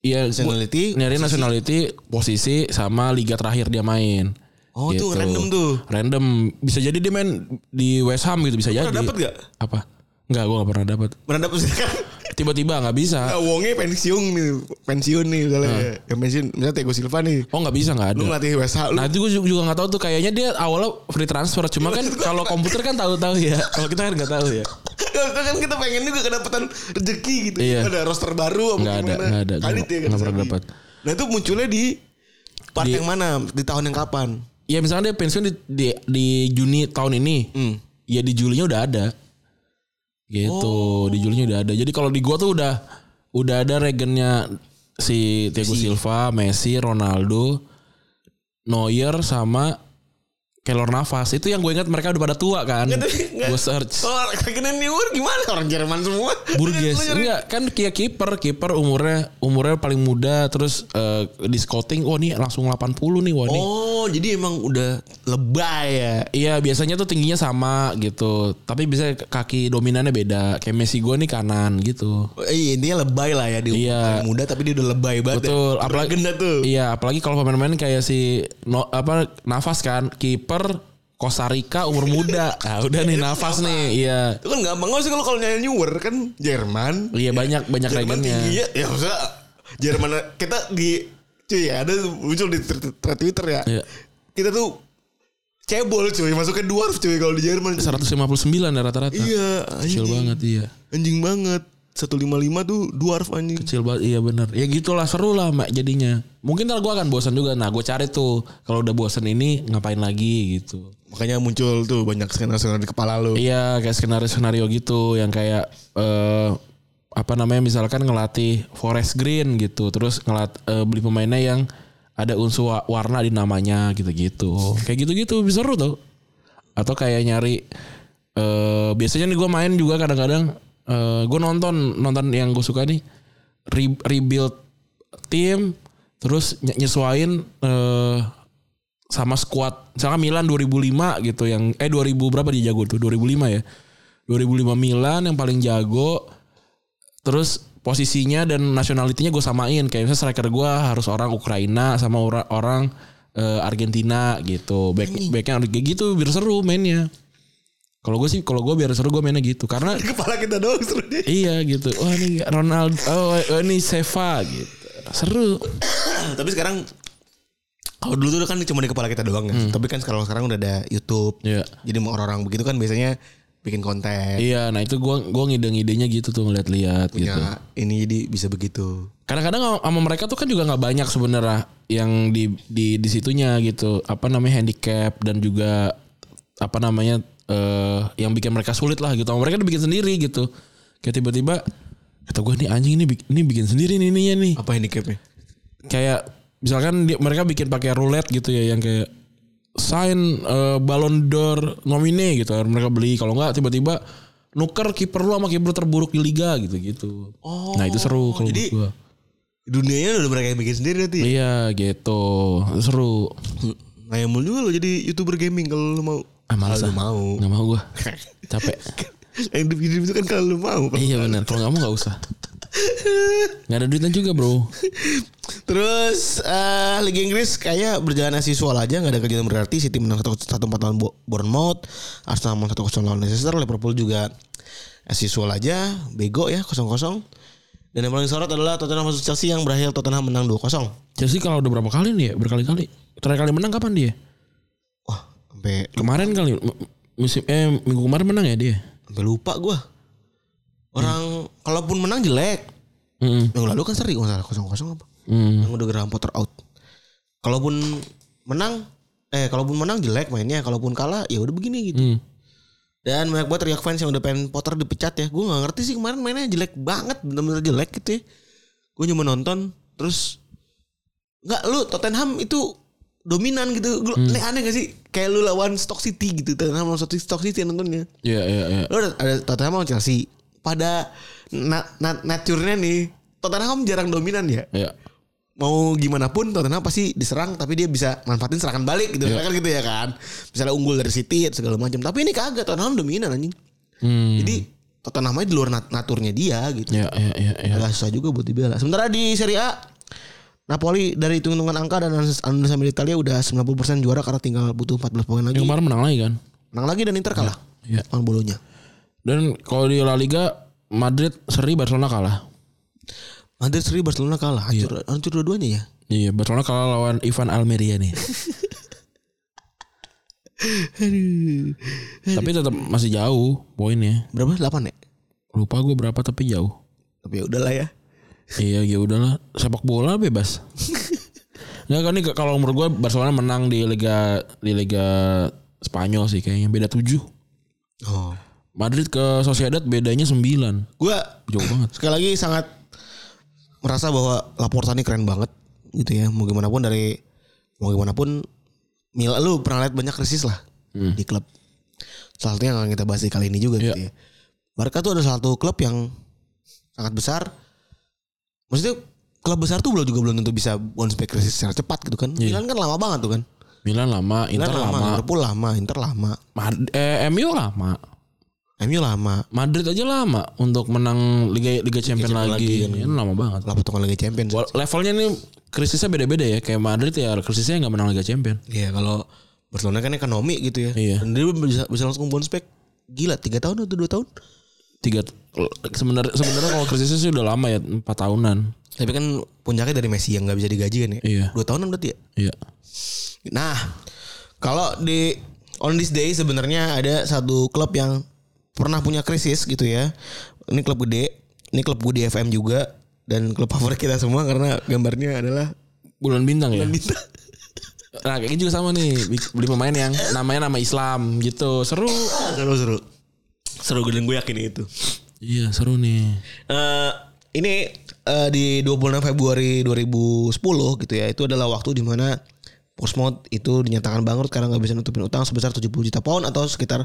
C: Iya, gua-
B: nationality.
C: nyari nationality, posisi sama liga terakhir dia main. Gitu.
B: Oh, tuh random tuh.
C: Random. Bisa jadi dia main di West Ham gitu bisa jadi.
B: dapat gak?
C: Apa? Enggak, gue gak pernah dapat.
B: Beranda kan
C: Tiba-tiba nggak bisa.
B: Nah, wongnya pensiun nih, pensiun nih misalnya. Yang pensiun misalnya Tego Silva nih.
C: Oh nggak bisa nggak ada.
B: Lu ngelatih West Ham. Lu
C: Nah itu gue juga nggak tahu tuh kayaknya dia awalnya free transfer cuma kan kalau komputer kan tahu-tahu ya. Kalau kita kan nggak tahu ya.
B: Nah, kan kita pengen juga kedapetan rezeki gitu.
C: Iya.
B: Ada roster baru apa
C: Nggak ada,
B: gimana.
C: nggak ada. Gua
B: Kali
C: nggak-
B: dia
C: nggak
B: bisa
C: pernah
B: di-
C: dapat.
B: Nah, itu munculnya di part yang mana? Di tahun yang kapan?
C: Ya misalnya dia pensiun di di, di Juni tahun ini. Ya di Julinya udah ada. Gitu di Julinya udah ada. Jadi kalau di gua tuh udah udah ada regennya si Thiago Silva, Messi, Ronaldo, Neuer sama Kelor Navas itu yang gue ingat mereka udah pada tua kan. Gue search.
B: Kalau kena newer gimana? Orang Jerman semua.
C: Oh, Burgess
B: Lu nyari-
C: enggak kan kayak kiper kiper umurnya umurnya paling muda terus eh, di scouting wah nih langsung 80 nih wah nih
B: Oh, jadi emang udah lebay ya.
C: Iya biasanya tuh tingginya sama gitu Tapi bisa kaki dominannya beda Kayak Messi gue nih kanan gitu
B: Eh, intinya lebay lah ya di umur
C: Iya.
B: paling muda tapi dia udah lebay banget.
C: Betul,
B: Ya.
C: apalagi-
B: Beragenda tuh.
C: Iya apalagi kalau pemain-pemain kayak si no- apa Nafas kan Kiper Costa Rica umur muda Nah udah nih Nafas nih Iya
B: Itu kan gampang gak sih kalau kalau nyari newer kan Jerman.
C: Iya banyak banyak
B: Jerman
C: regennya
B: tinggi ya. Ya maksudnya Jerman kita di cuy ada muncul di tr- tr- Twitter ya.
C: Iya.
B: Kita tuh cebol cuy, masuknya dwarf cuy kalau di Jerman.
C: 159 ya rata-rata
B: Iya, anjing.
C: Kecil banget iya
B: Anjing banget. 155 tuh dwarf anjing.
C: kecil banget iya bener ya gitulah seru lah mak jadinya mungkin ntar gue akan bosan juga nah gue cari tuh kalau udah bosan ini ngapain lagi gitu
B: Makanya muncul tuh banyak skenario di kepala lu.
C: iya kayak skenario skenario gitu yang kayak eh, apa namanya misalkan ngelatih forest green gitu terus ngelat eh, beli pemainnya yang ada unsur wa- warna di namanya gitu-gitu kayak gitu-gitu bisa seru tuh atau kayak nyari eh biasanya nih gue main juga kadang-kadang eh gue nonton nonton yang gue suka nih re- rebuild tim terus ny- nyesuain eh, sama squad misalkan Milan 2005 gitu yang eh 2000 berapa dia jago tuh 2005 ya 2005 Milan yang paling jago terus posisinya dan nasionalitinya gue samain kayak misalnya striker gue harus orang Ukraina sama ora- orang eh, Argentina gitu back backnya kayak gitu biar seru mainnya kalau gue sih kalau gue biar seru gue mainnya gitu karena
B: Kepala kita doang seru deh.
C: iya gitu wah ini Ronaldo oh, oh, ini Seva gitu seru
B: Tapi sekarang kalau dulu tuh kan cuma di kepala kita doang ya. Tapi kan sekarang sekarang udah ada YouTube.
C: Hmm. Iya.
B: Jadi mau orang-orang begitu kan biasanya bikin konten.
C: iya nah itu gue gue ngide-ngidenya gitu tuh ngeliat-liat gitu
B: Ya, ini jadi bisa begitu.
C: kadang-kadang sama mereka tuh kan juga nggak banyak sebenarnya yang di di di situnya gitu apa namanya handicap dan juga apa namanya eh yang bikin mereka sulit lah gitu sama mereka dibikin sendiri gitu kayak tiba-tiba kata gue nih anjing ini bik- ini bikin sendiri nih ininya nih
B: Apa handicapnya?
C: kayak misalkan dia- mereka bikin pakai roulette gitu ya yang kayak sign eh, Ballon d'Or nomine gitu mereka beli kalau nggak tiba-tiba nuker kiper lu sama kiper terburuk di liga gitu gitu nah itu seru kalau
B: jadi-
C: menurut gua.
B: Dunianya udah mereka yang bikin sendiri ya? nanti.
C: Iya gitu Seru
B: Nah yang mulu juga lo jadi youtuber gaming kalau lo mau.
C: Ah, males
B: Kalau lo mau.
C: Gak mau gue Capek
B: yang hidup itu kan kalau lo mau.
C: Iya bener Kalau gak mau gak usah Gak ada duitnya juga bro
B: Terus eh Liga Inggris kayaknya berjalan as usual aja nggak ada kerjaan berarti City menang 1-4 lawan Bo- Bournemouth, Arsenal menang 1-0 lawan Leicester, Liverpool juga as usual aja, bego ya 0-0. Dan yang paling sorot adalah Tottenham versus Chelsea yang berakhir Tottenham menang 2-0.
C: Chelsea kalau udah berapa kali nih ya Berkali-kali Terakhir kali menang kapan dia
B: Wah, sampai
C: Kemarin kali m- musim eh minggu kemarin menang ya dia
B: sampai lupa gua. Orang kalaupun menang jelek.
C: Mm-mm.
B: Yang lalu kan seri kalau nggak salah 0-0 apa?
C: Mm.
B: Yang udah Graham Potter out. Kalaupun menang eh kalaupun menang jelek mainnya, kalaupun kalah ya udah begini gitu.
C: Mm.
B: Dan banyak banget teriak fans yang udah pengen Potter dipecat ya. Gue gak ngerti sih kemarin mainnya jelek banget. Bener-bener jelek gitu ya. Gue cuma nonton. Terus. Nggak lu Tottenham itu dominan gitu. Gua, Ini aneh gak sih? Kayak lu lawan Stock City gitu. Tottenham lawan Stock City yang nontonnya.
C: Iya iya iya
B: Lu ada, ada Tottenham lawan Chelsea. Pada na, na, nature-nya nih. Tottenham jarang dominan ya.
C: Iya
B: Mau gimana pun Tottenham pasti diserang tapi dia bisa manfaatin serangan balik gitu.
C: Iya.
B: Kan gitu ya kan. Misalnya unggul dari City segala macam. Tapi ini kagak Tottenham dominan anjing.
C: Mm.
B: Jadi Tottenham aja di luar nat- naturnya dia gitu.
C: Iya iya iya iya.
B: Agak susah juga buat dibela. Sementara di Serie A Napoli dari hitung-hitungan angka dan Andrea Militalia udah 90% juara karena tinggal butuh 14 poin lagi.
C: Yang kemarin menang lagi kan
B: Menang lagi dan Inter kalah.
C: Iya.
B: Lawan bolonya.
C: Dan kalau di La Liga Madrid seri Barcelona kalah
B: Madrid seri Barcelona kalah. Hancur, hancur dua-duanya ya.
C: Iya Barcelona kalah lawan Ivan Almeria nih
B: Aduh.
C: Tapi tetap masih jauh poinnya
B: Berapa? 8 ya?
C: Lupa gue berapa tapi jauh
B: Tapi ya udahlah ya.
C: Iya ya udahlah sepak bola bebas. Nggak kan nih kalau umur gue Barcelona menang di Liga di Liga Spanyol sih kayaknya beda 7.
B: Oh.
C: Madrid ke Sociedad bedanya 9.
B: Gua
C: Jauh banget.
B: sekali lagi sangat merasa bahwa Laporta ini keren banget gitu ya mau gimana pun dari mau gimana pun Mila lu pernah lihat banyak krisis lah di klub salah satunya yang akan kita bahas di kali ini juga gitu ya Barca tuh ada satu klub yang sangat besar maksudnya klub besar tuh belum juga belum tentu bisa bounce back krisis secara cepat gitu kan Milan kan lama banget tuh kan
C: Milan lama,
B: Milan
C: Inter lama,
B: Liverpool lama Inter lama
C: Mad- eh, MU lama.
B: MU lama
C: Madrid aja lama untuk menang Liga Liga Champion
B: Champions
C: lagi.
B: lagi
C: Ini lama banget.
B: lah potongan Liga Champions
C: Wal- Levelnya nih krisisnya beda-beda ya. Kayak Madrid ya krisisnya nggak menang Liga Champion.
B: Iya kalau Barcelona kan ekonomi gitu ya.
C: Iya.
B: Dan dia bisa, bisa langsung bounce back. Gila 3 tahun atau 2 tahun.
C: Tiga sebenarnya sebenarnya kalau krisisnya sih udah lama ya empat tahunan.
B: Tapi kan puncaknya dari Messi yang nggak bisa digaji kan ya.
C: Iya.
B: 2 tahunan berarti ya.
C: Iya.
B: Nah kalau di on this day sebenarnya ada satu klub yang pernah punya krisis gitu ya. Ini klub gede. Ini klub gue di FM juga. Dan klub favorit kita semua karena gambarnya adalah
C: Bulan bintang ya.
B: bintang.
C: Nah kayaknya juga sama nih bi- Beli pemain yang namanya nama Islam gitu Seru
B: seru seru. Seru dan gue yakin itu.
C: Iya seru nih
B: Eh, ini eh, di 26 Februari 2010 gitu ya. Itu adalah waktu di mana Portsmouth itu dinyatakan bangkrut karena nggak bisa nutupin utang sebesar 70 juta pound atau sekitar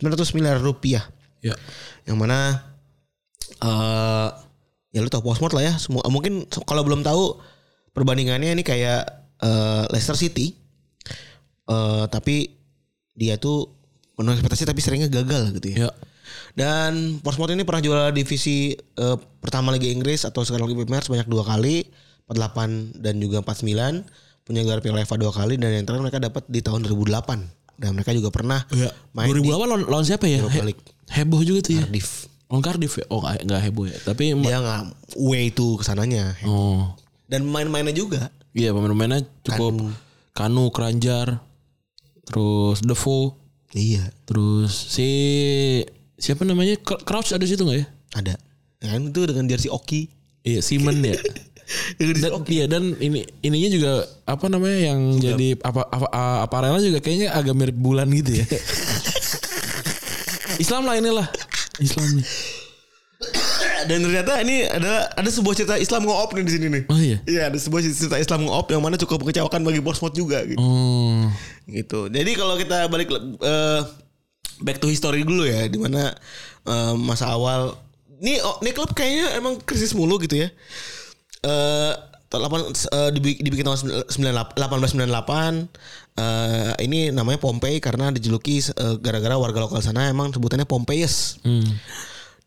B: 900 miliar rupiah.
C: Ya
B: Yang mana eh ya lu tahu Portsmouth lah ya. Semua mungkin so- kalau belum tahu perbandingannya ini kayak eh, Leicester City Eh, tapi dia tuh penuh ekspektasi tapi seringnya gagal gitu ya.
C: Ya.
B: Dan Portsmouth ini pernah juara divisi eh, pertama Liga Inggris atau sekarang Liga Premier sebanyak dua kali, 48 dan juga 49, punya gelar Piala UEFA dua kali dan yang terakhir mereka dapat di tahun 2008. Dan mereka juga pernah Ya,
C: Iya.
B: main
C: 2008
B: di
C: lawan, lawan siapa ya?
B: Europa
C: He-
B: League.
C: heboh juga tuh ya.
B: Cardiff.
C: Lawan Cardiff ya? Oh nggak nggak heboh ya. Tapi
B: Dia nggak way to kesananya.
C: oh
B: Dan main-mainnya juga.
C: iya pemain-pemainnya cukup Kanu, Kranjar, terus Defoe,
B: Iya,
C: terus si siapa namanya Cr- Crouch ada situ nggak ya?
B: ada. Yang kan, itu dengan jersey Oki.
C: Iya Simon ya.
B: Dengan jersey
C: Dan, iya, dan ini ininya juga apa namanya yang jadi apa apa a- aparelnya juga kayaknya agak mirip bulan gitu ya. Islam lah inilah. Islam nih.
B: Dan ternyata ini adalah ada sebuah cerita Islam ngoop nih di sini nih.
C: Oh iya.
B: Iya, ada sebuah cerita Islam ngoop yang mana cukup mengecewakan bagi Portsmouth juga gitu.
C: Oh.
B: Gitu. Jadi kalau kita balik eh, back to history dulu ya, di mana eh, masa awal ini oh, ini klub kayaknya emang krisis mulu gitu ya. Eh tahun delapan- eh, dibi- dibikin tahun sembilan- 1898 eh ini namanya Pompei karena dijuluki eh, gara-gara warga lokal sana emang sebutannya Pompeius
C: Hmm.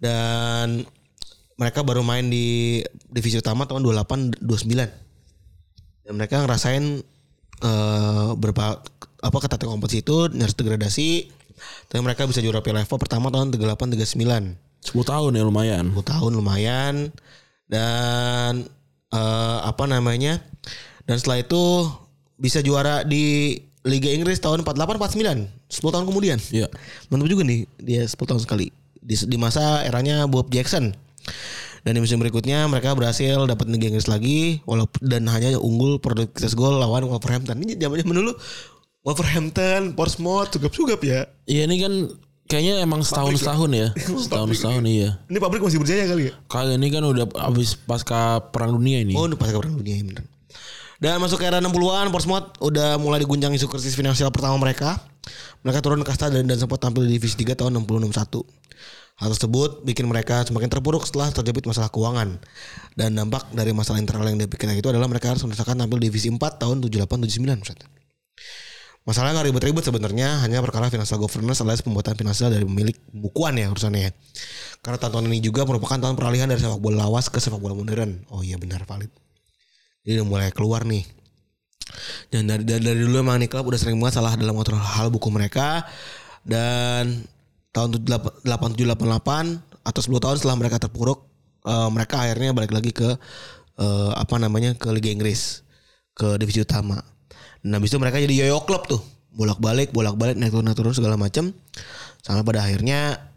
B: dan mereka baru main di divisi utama tahun 28 29 dan mereka ngerasain eh berapa apa ketatnya kompetisi itu nyaris degradasi tapi mereka bisa juara Piala UEFA pertama tahun 38 39
C: 10 tahun ya lumayan.
B: 10 tahun lumayan dan eh, apa namanya dan setelah itu bisa juara di Liga Inggris tahun 48 49 10 tahun kemudian
C: Iya.
B: mantap juga nih dia 10 tahun sekali di, di masa eranya Bob Jackson dan di musim berikutnya mereka berhasil dapat Liga Inggris lagi walaupun dan hanya unggul produktivitas gol lawan Wolverhampton ini zamannya dulu Wolverhampton, Portsmouth, sugap-sugap ya.
C: Iya ini kan kayaknya emang setahun setahun ya. Setahun setahun iya.
B: Ini pabrik masih berjaya kali ya?
C: Kali ini kan udah habis pasca perang dunia ini.
B: Oh, udah pasca perang dunia ya bener. Dan masuk ke era 60-an, Portsmouth udah mulai diguncang isu krisis finansial pertama mereka. Mereka turun kasta dan, dan sempat tampil di divisi 3 tahun 60-61. Hal tersebut bikin mereka semakin terpuruk setelah terjepit masalah keuangan. Dan dampak dari masalah internal yang dipikirkan itu adalah mereka harus merasakan tampil di divisi 4 tahun 78-79. Ustaz. Masalahnya nggak ribet-ribet sebenarnya hanya perkara financial governance alias pembuatan finansial dari pemilik bukuan ya urusannya. ya. Karena tahun ini juga merupakan tahun peralihan dari sepak bola lawas ke sepak bola modern. Oh iya benar valid. Jadi udah mulai keluar nih. Dan dari, dari, dari dulu emang nih klub udah sering banget salah dalam mengatur hal buku mereka dan tahun 8788 atau 10 tahun setelah mereka terpuruk eh, mereka akhirnya balik lagi ke eh, apa namanya ke Liga Inggris ke divisi utama. Nah, habis itu mereka jadi yoyo klub tuh. Bolak-balik, bolak-balik, naik turun, naik turun segala macam. Sampai pada akhirnya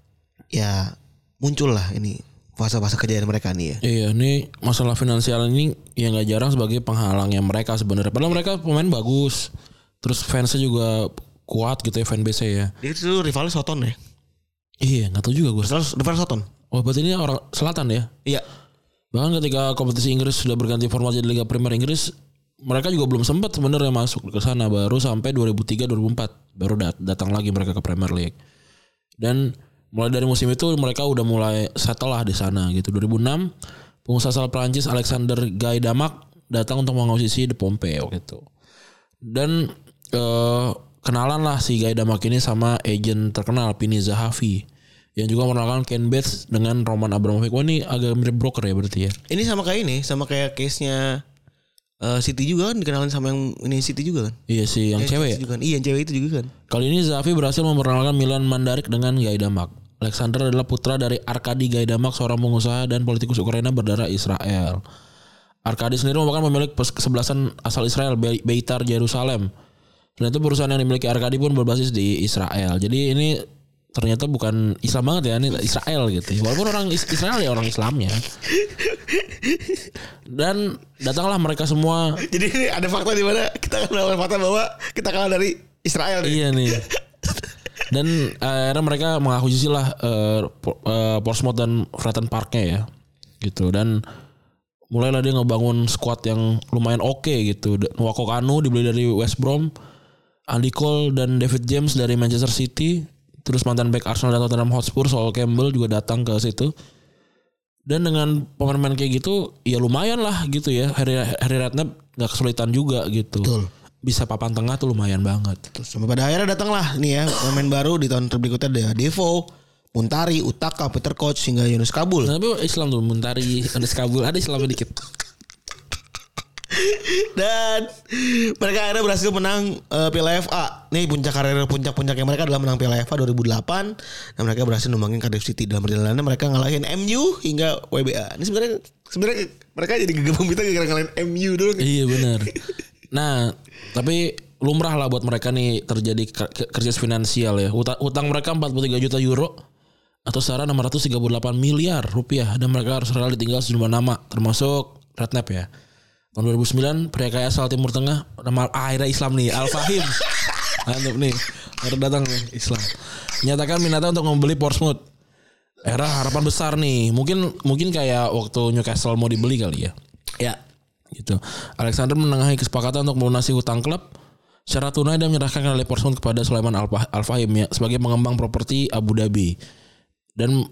B: ya muncul lah ini fase-fase kejadian mereka nih ya.
C: Iya, ini masalah finansial ini yang nggak jarang sebagai penghalangnya mereka sebenarnya. Padahal mereka pemain bagus, terus fansnya juga kuat gitu ya fanbase ya.
B: Dia itu rivalnya Soton ya.
C: Iya, nggak tahu juga gue.
B: Terus rival Soton.
C: Oh, berarti ini orang selatan ya?
B: Iya.
C: Bahkan ketika kompetisi Inggris sudah berganti format jadi Liga Primer Inggris, mereka juga belum sempat sebenarnya masuk ke sana baru sampai 2003-2004 baru dat- datang lagi mereka ke Premier League. Dan mulai dari musim itu mereka udah mulai settle lah di sana gitu. 2006 pengusaha asal Prancis Alexander Guy Damak datang untuk mengosisi De Pompeo gitu. Dan eh, kenalan lah si Guy Damak ini sama agent terkenal Pini Zahavi yang juga mengenalkan Ken Bates dengan Roman Abramovich. Wah ini agak mirip broker ya berarti ya.
B: Ini sama kayak ini, sama kayak case-nya eh, City juga kan dikenalin sama yang ini City juga kan.
C: Iya sih yang cewek ya.
B: City juga kan. Iya, yang cewek itu juga kan.
C: Kali ini Zafi berhasil memperkenalkan Milan Mandarik dengan Gaidamak. Alexander adalah putra dari Arkadi Gaidamak, seorang pengusaha dan politikus Ukraina berdarah Israel. Arkadi sendiri merupakan pemilik pes- kesebelasan asal Israel, Be- Beitar Jerusalem. Dan itu perusahaan yang dimiliki Arkadi pun berbasis di Israel. Jadi ini ternyata bukan Islam banget ya, ini Israel gitu. Walaupun orang Is- Israel ya orang Islamnya. Dan datanglah mereka semua.
B: Jadi ini ada fakta di mana kita kenal fakta bahwa kita kalah dari Israel. nih.
C: Iya nih. Dan eh, akhirnya mereka mengakuisisi lah eh, Po- eh, Portsmouth dan Fratton Parknya ya, gitu. Dan mulailah dia ngebangun squad yang lumayan oke gitu. D- Nwako Kanu dibeli dari West Brom, Andy Cole dan David James dari Manchester City, terus mantan back Arsenal dan Tottenham Hotspur Saul Campbell juga datang ke situ. Dan dengan pemain-pemain kayak gitu ya lumayan lah gitu ya. Hari Hari Ratna nggak kesulitan juga gitu.
B: Betul.
C: Bisa papan tengah tuh lumayan banget.
B: Terus sampai pada akhirnya datanglah nih ya pemain baru di tahun berikutnya ada Devo, Muntari, Utaka, Peter Koch hingga Yunus Kabul.
C: Tapi Islam tuh Muntari ada Kabul ada Islam dikit.
B: Dan mereka akhirnya berhasil menang eh, Piala FA. Nih puncak karir puncak-puncaknya mereka adalah menang Piala FA 2008 dan mereka berhasil numbangin Cardiff City dalam perjalanannya mereka ngalahin MU hingga WBA. Ini sebenarnya sebenarnya mereka jadi gegap gempita gara-gara ngalahin MU dulu. nih.
C: iya benar. Nah tapi lumrah lah buat mereka nih terjadi ker- ker- krisis finansial ya. Hutang, hutang mereka 43 juta euro atau setara 638 miliar rupiah dan mereka harus rela ditinggal sejumlah nama termasuk Redknapp ya. Tahun 2009 pria kaya asal Timur Tengah nama Aira Islam nih Al Fahim. Mantap nih. Baru datang nih Islam. Menyatakan minatnya untuk membeli Portsmouth. Era harapan besar nih. Mungkin mungkin kayak waktu Newcastle mau dibeli kali ya. Ya. Gitu. Alexander menengahi kesepakatan untuk melunasi hutang klub secara tunai dan menyerahkan kembali Portsmouth kepada Sulaiman Al Al Fahim ya sebagai pengembang properti Abu Dhabi. Dan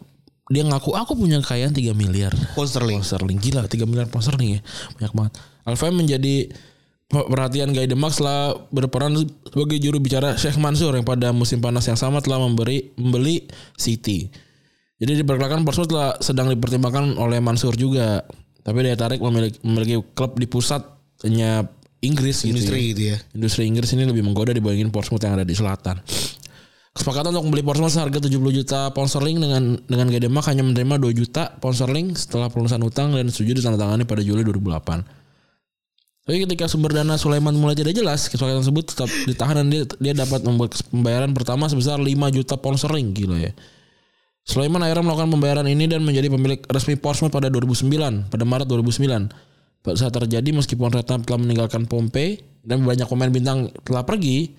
C: dia ngaku aku punya kekayaan 3 miliar
B: Paul Sterling.
C: pound sterling gila 3 miliar pound sterling ya banyak banget Alfheim menjadi pe- perhatian Guy Demak setelah berperan sebagai juru bicara Sheikh Mansur yang pada musim panas yang sama telah memberi membeli City jadi diperkirakan Portsmouth telah sedang dipertimbangkan oleh Mansur juga tapi daya tarik memiliki, memiliki klub di pusatnya Inggris gitu
B: Industri
C: ya.
B: gitu ya.
C: Industri Inggris ini lebih menggoda dibandingin Portsmouth yang ada di selatan. Kesepakatan untuk membeli Portsmouth seharga 70 juta pound sterling dengan dengan Gademak hanya menerima 2 juta pound sterling setelah pelunasan utang dan setuju ditandatangani pada Juli 2008. Tapi ketika sumber dana Sulaiman mulai tidak jelas, kesepakatan tersebut tetap ditahan dan dia, dia dapat membuat kes- pembayaran pertama sebesar 5 juta pound sterling gila ya. Sulaiman akhirnya melakukan pembayaran ini dan menjadi pemilik resmi Portsmouth pada 2009, pada Maret 2009. Pada Saat terjadi meskipun Redknapp telah meninggalkan Pompei dan banyak pemain bintang telah pergi,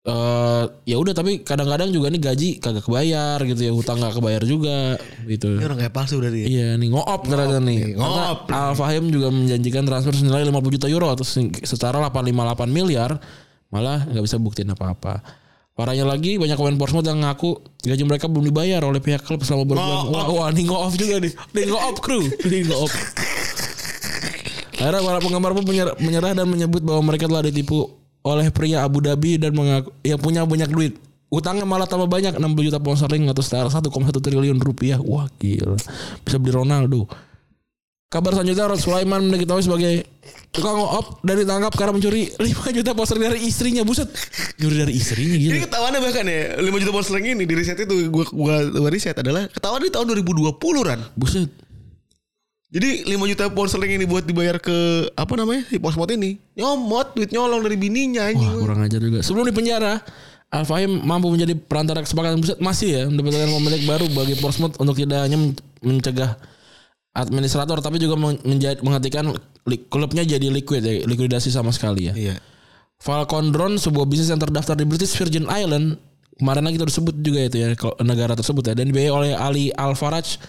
C: eh ya udah tapi kadang-kadang juga nih gaji kagak kebayar gitu ya, hutang gak kebayar juga gitu.
B: Ini orang kayak palsu ya. dari
C: Iya nih ngoop iya. ternyata nih.
B: ngoop.
C: Al Fahim juga menjanjikan transfer senilai 50 juta euro atau se- setara 858 miliar. Malah nggak bisa buktiin apa-apa. Parahnya lagi banyak pemain Portsmouth yang ngaku gaji mereka belum dibayar oleh pihak klub selama berbulan. Wah, wah nih ngoop juga nih. Nih ngoop kru, nih ngoop. Akhirnya para penggemar pun menyerah, menyerah dan menyebut bahwa mereka telah ditipu oleh pria Abu Dhabi dan mengaku yang punya banyak duit. Utangnya malah tambah banyak 60 juta pound sterling atau setara 1,1 triliun rupiah. Wah gila. Bisa beli Ronaldo. Kabar selanjutnya Rod Sulaiman diketahui sebagai tukang op dan ditangkap karena mencuri 5 juta pound sterling dari istrinya. Buset. Nyuri dari istrinya gila.
B: Ini ketahuannya bahkan ya 5 juta pound sterling ini di riset itu gua gua, gua riset adalah ketahuan di tahun 2020 Ran.
C: Buset.
B: Jadi 5 juta pound sterling ini buat dibayar ke apa namanya? Si Portsmouth ini. Nyomot duit nyolong dari bininya
C: Wah
B: anjing.
C: kurang ajar juga. Sebelum di penjara, Al-Fahim mampu menjadi perantara kesepakatan pusat masih ya mendapatkan pemilik baru bagi Portsmouth untuk tidak hanya men- mencegah administrator tapi juga men- menja- menghentikan li- klubnya jadi liquid ya, likuidasi sama sekali ya.
B: Iya.
C: Falcon Drone sebuah bisnis yang terdaftar di British Virgin Island kemarin lagi tersebut juga itu ya kalau negara tersebut ya dan dibiayai oleh Ali Al Faraj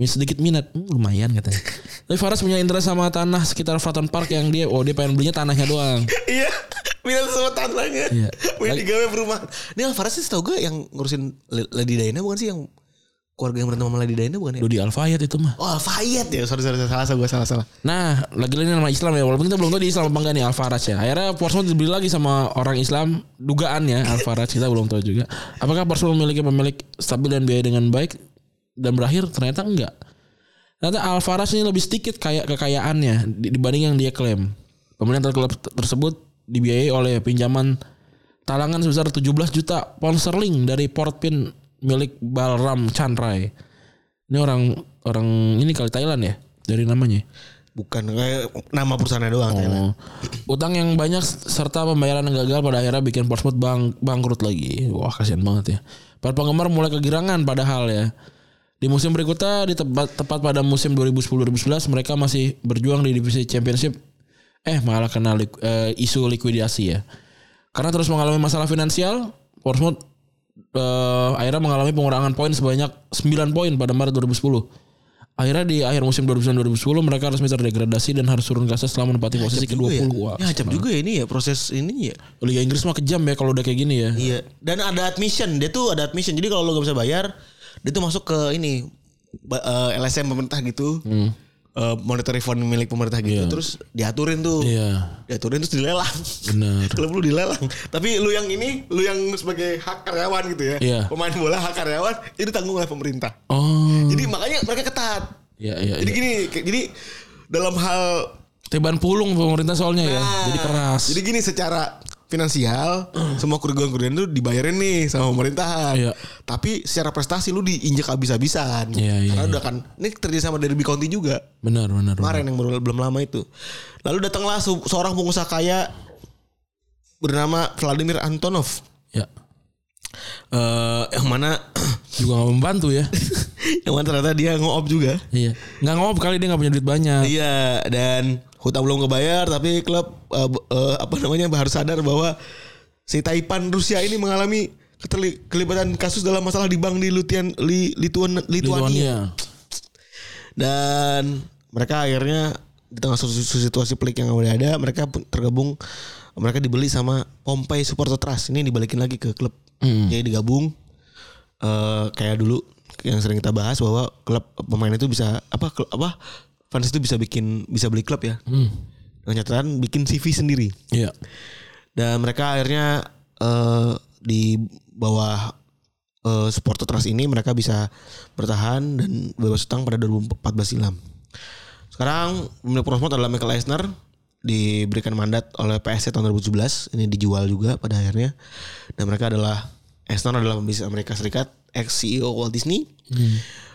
C: sedikit minat Hmm, lumayan katanya. Tapi Faraj punya interest sama tanah sekitar Fratton Park yang dia oh dia pengen belinya tanahnya doang.
B: Iya. Minat sama tanahnya.
C: Iya.
B: Punya digawe perumahan. Ini Alvarez sih setahu gue yang ngurusin Le- Lady Diana bukan sih yang keluarga yang berantem sama Lady Diana bukan ya?
C: Dodi Al Fayed itu mah.
B: Oh, Alfayet ya. Sorry, sorry, sorry. salah salah gue salah salah.
C: Nah, lagi-lagi ini nama Islam ya. Walaupun kita belum tahu di Islam apa enggak nih Alvarez ya. Akhirnya Portsmouth dibeli lagi sama orang Islam. Dugaannya Alvarez kita belum tahu juga. Apakah Portsmouth memiliki pemilik stabil dan biaya dengan baik? Dan berakhir ternyata enggak. Ternyata Alvarez ini lebih sedikit kayak kekayaannya di- dibanding yang dia klaim. Pemerintah klub t- tersebut dibiayai oleh pinjaman talangan sebesar 17 juta pound sterling dari Portpin milik Balram Chanrai. Ini orang orang ini kali Thailand ya dari namanya.
B: Bukan kayak nama perusahaannya doang. kayaknya.
C: Oh. Utang yang banyak serta pembayaran yang gagal pada akhirnya bikin Portsmouth bang bangkrut lagi. Wah kasihan banget ya. Para penggemar mulai kegirangan padahal ya. Di musim berikutnya di tepat, tepat pada musim 2010-2011 mereka masih berjuang di divisi championship. Eh malah kena lik- eh, isu likuidasi ya. Karena terus mengalami masalah finansial, Portsmouth eh, akhirnya mengalami pengurangan poin sebanyak 9 poin pada Maret 2010. Akhirnya di akhir musim 2009-2010 mereka resmi terdegradasi dan harus turun kasta setelah menempati posisi
B: Juga
C: ke-20.
B: Ya,
C: Wah,
B: ya acap juga ya ini ya proses ini ya.
C: Liga Inggris mah kejam ya kalau udah kayak gini ya.
B: Iya. Dan ada admission. Dia tuh ada admission. Jadi kalau lo gak bisa bayar, dia tuh masuk ke ini ba- eh, LSM pemerintah gitu.
C: Hmm.
B: eh, monetary fund milik pemerintah gitu terus diaturin tuh.
C: Iya.
B: Diaturin Ya, terus dilelang.
C: Benar.
B: Klub lu dilelang. Tapi lu yang ini lu yang sebagai hak karyawan gitu ya.
C: Iya.
B: Pemain bola hak karyawan itu ditanggung oleh pemerintah.
C: Oh.
B: Jadi makanya mereka ketat.
C: Iya iya.
B: Jadi
C: iya.
B: gini, kayak- jadi dalam hal
C: Teban pulung pemerintah soalnya ya.
B: Nah,
C: Jadi keras.
B: Jadi gini secara finansial semua kerugian-kerugian itu dibayarin nih sama pemerintahan.
C: Hmm. Iya.
B: Tapi secara prestasi lu diinjak habis-habisan.
C: Iya, iya,
B: Karena
C: iya.
B: udah kan ini terjadi sama Derby County juga
C: benar benar. benar.
B: kemarin yang baru belum lama itu. Lalu datanglah se- seorang pengusaha kaya bernama Vladimir Antonov.
C: Ya.
B: Eh, yang mana
C: Juga nggak membantu ya.
B: yang mana ternyata dia ngoop juga.
C: iya. Nggak ngop kali dia nggak punya duit banyak.
B: Iya dan hutang belum kebayar tapi klub eh, b- eh, apa namanya harus sadar bahwa si Taipan Rusia ini mengalami keterli- kelibatan kasus dalam masalah di bank di Lutian, Li- Lituan- Lituania
C: Lituania.
B: dan mereka akhirnya di tengah su- su- situasi pelik yang udah ada mereka pun tergabung mereka dibeli sama Pompei Supporter Trust ini dibalikin lagi ke klub jadi digabung eh, kayak dulu yang sering kita bahas bahwa klub pemain itu bisa apa klub- apa fans itu bisa bikin bisa beli klub ya dengan catatan bikin CV sendiri
C: Iya.
B: dan mereka akhirnya eh, di bawah eh, supporter trust ini mereka bisa bertahan dan bebas utang pada 2014 silam. Sekarang pemilik Prosmod adalah Michael Eisner diberikan mandat oleh PSC tahun 2017 ini dijual juga pada akhirnya dan mereka adalah Eisner adalah pembisnis Amerika Serikat ex CEO Walt Disney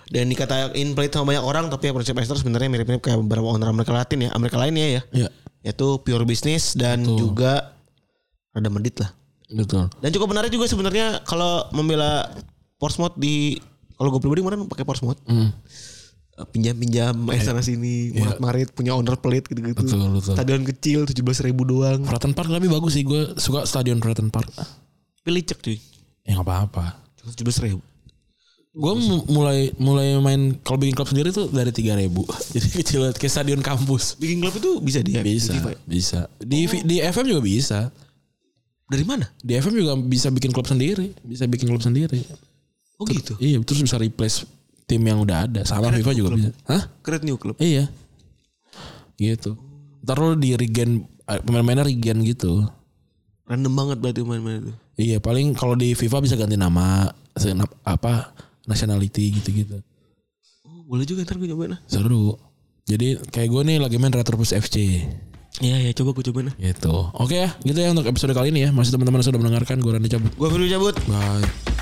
B: dan dikatain pelit sama banyak orang tapi prinsip Eisner sebenarnya mirip-mirip kayak beberapa owner Amerika Latin ya Amerika lainnya ya
C: Iya.
B: yaitu pure business dan juga rada medit lah.
C: Betul.
B: Dan cukup menarik juga sebenarnya kalau membela Portsmouth di kalau gue pribadi kemarin pakai Portsmouth. Pinjam-pinjam eh, sana sini, murat marit punya owner pelit gitu-gitu.
C: Betul, betul.
B: Stadion kecil 17.000 ribu doang.
C: Praten Park tapi bagus sih gue suka stadion Praten Park.
B: Pilih cek cuy.
C: Ya nggak apa-apa.
B: 17 ribu.
C: Gue mulai mulai main kalau bikin klub sendiri tuh dari 3000 Jadi kecil banget, kayak stadion kampus.
B: Bikin klub itu bisa dia.
C: Ya, Bisa, bisa. Di di FM juga bisa.
B: Dari mana?
C: Di FM juga bisa bikin klub sendiri, bisa bikin klub sendiri.
B: Oh gitu.
C: Iya, terus bisa replace tim yang udah ada. Sama FIFA juga bisa. Hah?
B: Create new club.
C: Iya. Gitu. Ntar lu di regen eh, pemain-pemainnya regen gitu.
B: Random banget berarti main-main itu.
C: Iya, paling kalau di FIFA bisa ganti nama, sena- apa nationality gitu-gitu.
B: Oh, boleh juga ntar gue cobain lah.
C: Seru. Jadi kayak gue nih lagi main Retropus FC.
B: Iya ya coba gue cobain lah.
C: Gitu. Oke ya, gitu ya untuk episode kali ini ya. Masih teman-teman yang sudah mendengarkan gue Randy cabut.
B: Gue perlu cabut.
C: Bye.